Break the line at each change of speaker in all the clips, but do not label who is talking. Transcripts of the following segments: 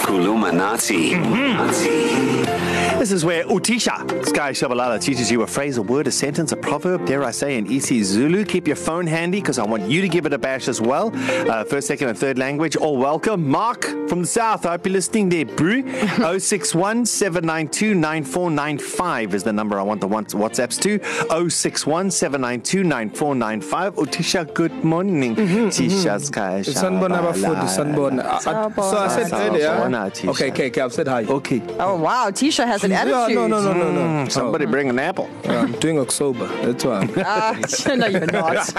Kulumanati.
This is where Utisha Sky Shabalala teaches you a phrase, a word, a sentence, a proverb, dare I say, in Isi Zulu. Keep your phone handy because I want you to give it a bash as well. Uh, first, second, and third language. All welcome. Mark from the South. I hope you're listening there, oh brew. 061 792 9495 is the number I want the ones- WhatsApps to. 061 792 9495. Utisha, good morning. Mm-hmm, Tisha Sky
Sanbon Abafood,
Shabalala.
Sanbon. I- So I said
Sanbon.
earlier.
Sanbon.
Okay, okay, okay, I've said hi.
Okay.
Oh wow, Tisha has an
Yeah,
attitude.
no, no, no, no, no.
Mm, somebody bring an apple.
Oh, I'm doing October. That's why.
Uh, no, you're not.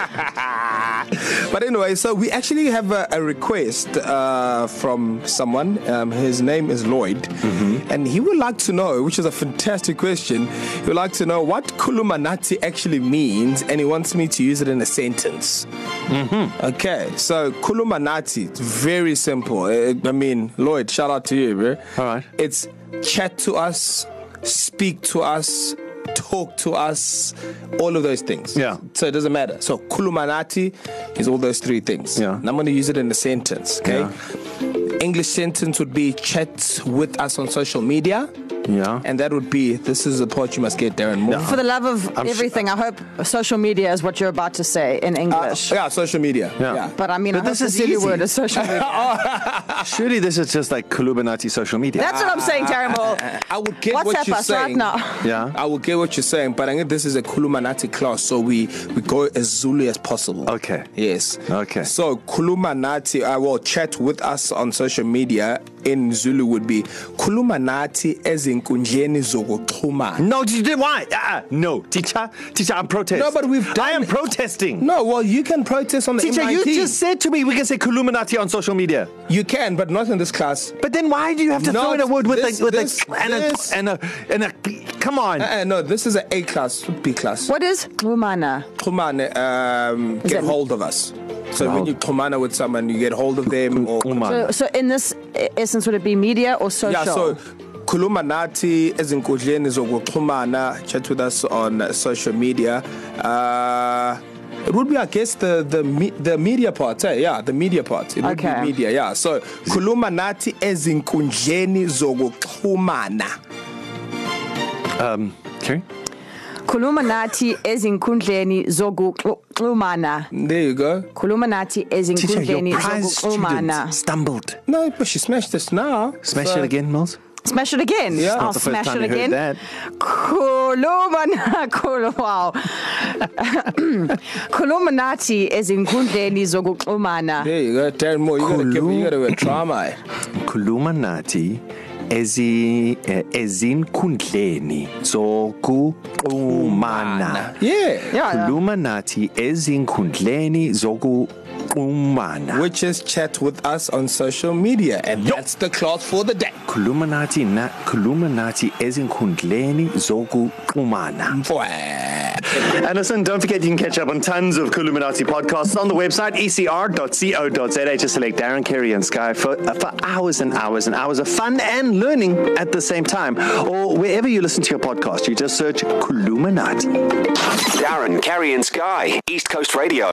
But anyway, so we actually have a, a request uh, from someone. Um, his name is Lloyd, mm-hmm. and he would like to know, which is a fantastic question. He would like to know what Kulumanati actually means, and he wants me to use it in a sentence. Mm-hmm. Okay, so Kulumanati, it's very simple. Uh, I mean, Lloyd, shout out to you, bro.
All right.
It's chat to us, speak to us, talk to us, all of those things.
Yeah.
So it doesn't matter. So kulumanati is all those three things.
Yeah.
And I'm going to use it in a sentence. Okay. Yeah. English sentence would be chat with us on social media.
Yeah.
And that would be this is the part you must get, Darren Moore.
For the love of
I'm
I'm
su-
everything, sure. I hope social media is what you're about to say in
Uh,
English. Uh,
yeah, social media.
Yeah.
yeah.
but I mean,
But
I
this
hope
is
the silly
easy.
word is social
Oh.
media.
Surely this is just like Kuluminati social media.
That's what I'm saying, Terrible.
I would get
WhatsApp
what you're
us right
saying.
now.
yeah.
I will get what you're saying, but I think this is a Kulumanati class, so we, we go as Zulu as possible.
Okay.
Yes.
Okay.
So Kulumanati, I will chat with us on social media in Zulu would be Kulumanati ezinkundleni zokuxhumana.
Ah, No, did you do why? Uh, no, teacher, teacher, I'm protesting.
No, but we've done
I am
it.
protesting.
No, well, you can protest on the
teacher,
MIT.
you just said to me we can say Kuluminati on social media.
you can, but not in this class.
But then why do you have to throw
No,
in a word with
this-
a with
this-
a and
this-
a and a and a come on?
Uh, no, this is an A class, B class.
What is Lumana?
Xhumane, um, get
that-
hold of us. So when
Hold.
you xhumana with someone, you get hold of them or
Come on.
So, Uh, so in this e- essence, would it be media or
Yeah,
social?
so khuluma nathi ezinkundleni zokuxhumana chat with us on uh, social media. Uh it would be I guess the the me, the media part, eh? yeah, the media part. It would
Okay.
be media, yeah. So khuluma nathi ezinkundleni zokuxhumana.
Um, Kerry?
Kulumanati ezinkundleni zokuxhumana.
There you go.
Kulumanati
Teacher,
ezinkundleni
your prize student
zokuxhumana.
stumbled.
No, but she smashed this now.
Smash
so,
it again, Mills.
Smash it again.
Yeah. It's
I'll
not the first
smash
time you
it
heard
again.
that.
Kulumana, kul, wow. Kulumanati ezinkundleni zokuxhumana.
There you go. Darren Moore, you gotta give you gotta a trauma. eh?
Kuluminati ezi eh, ezinkundleni zokuxhumana.
Yeah.
Yeah, yeah.
khuluma nathi ezinkundleni zokuqumana
Which is chat with us on social media. And yep. that's the class for the day.
khuluma nathi na khuluma nathi ezinkundleni zokuqumana
Mfwe.
And listen, don't forget you can catch up on tons of Kuluminati podcasts on the website E ecr.co.za. Just select Darren, Kerry, and Sky for, uh, for hours and hours and hours of fun and learning at the same time. Or wherever you listen to your podcast, you just search Kuluminati.
Darren, Carrie, and Sky. East Coast Radio.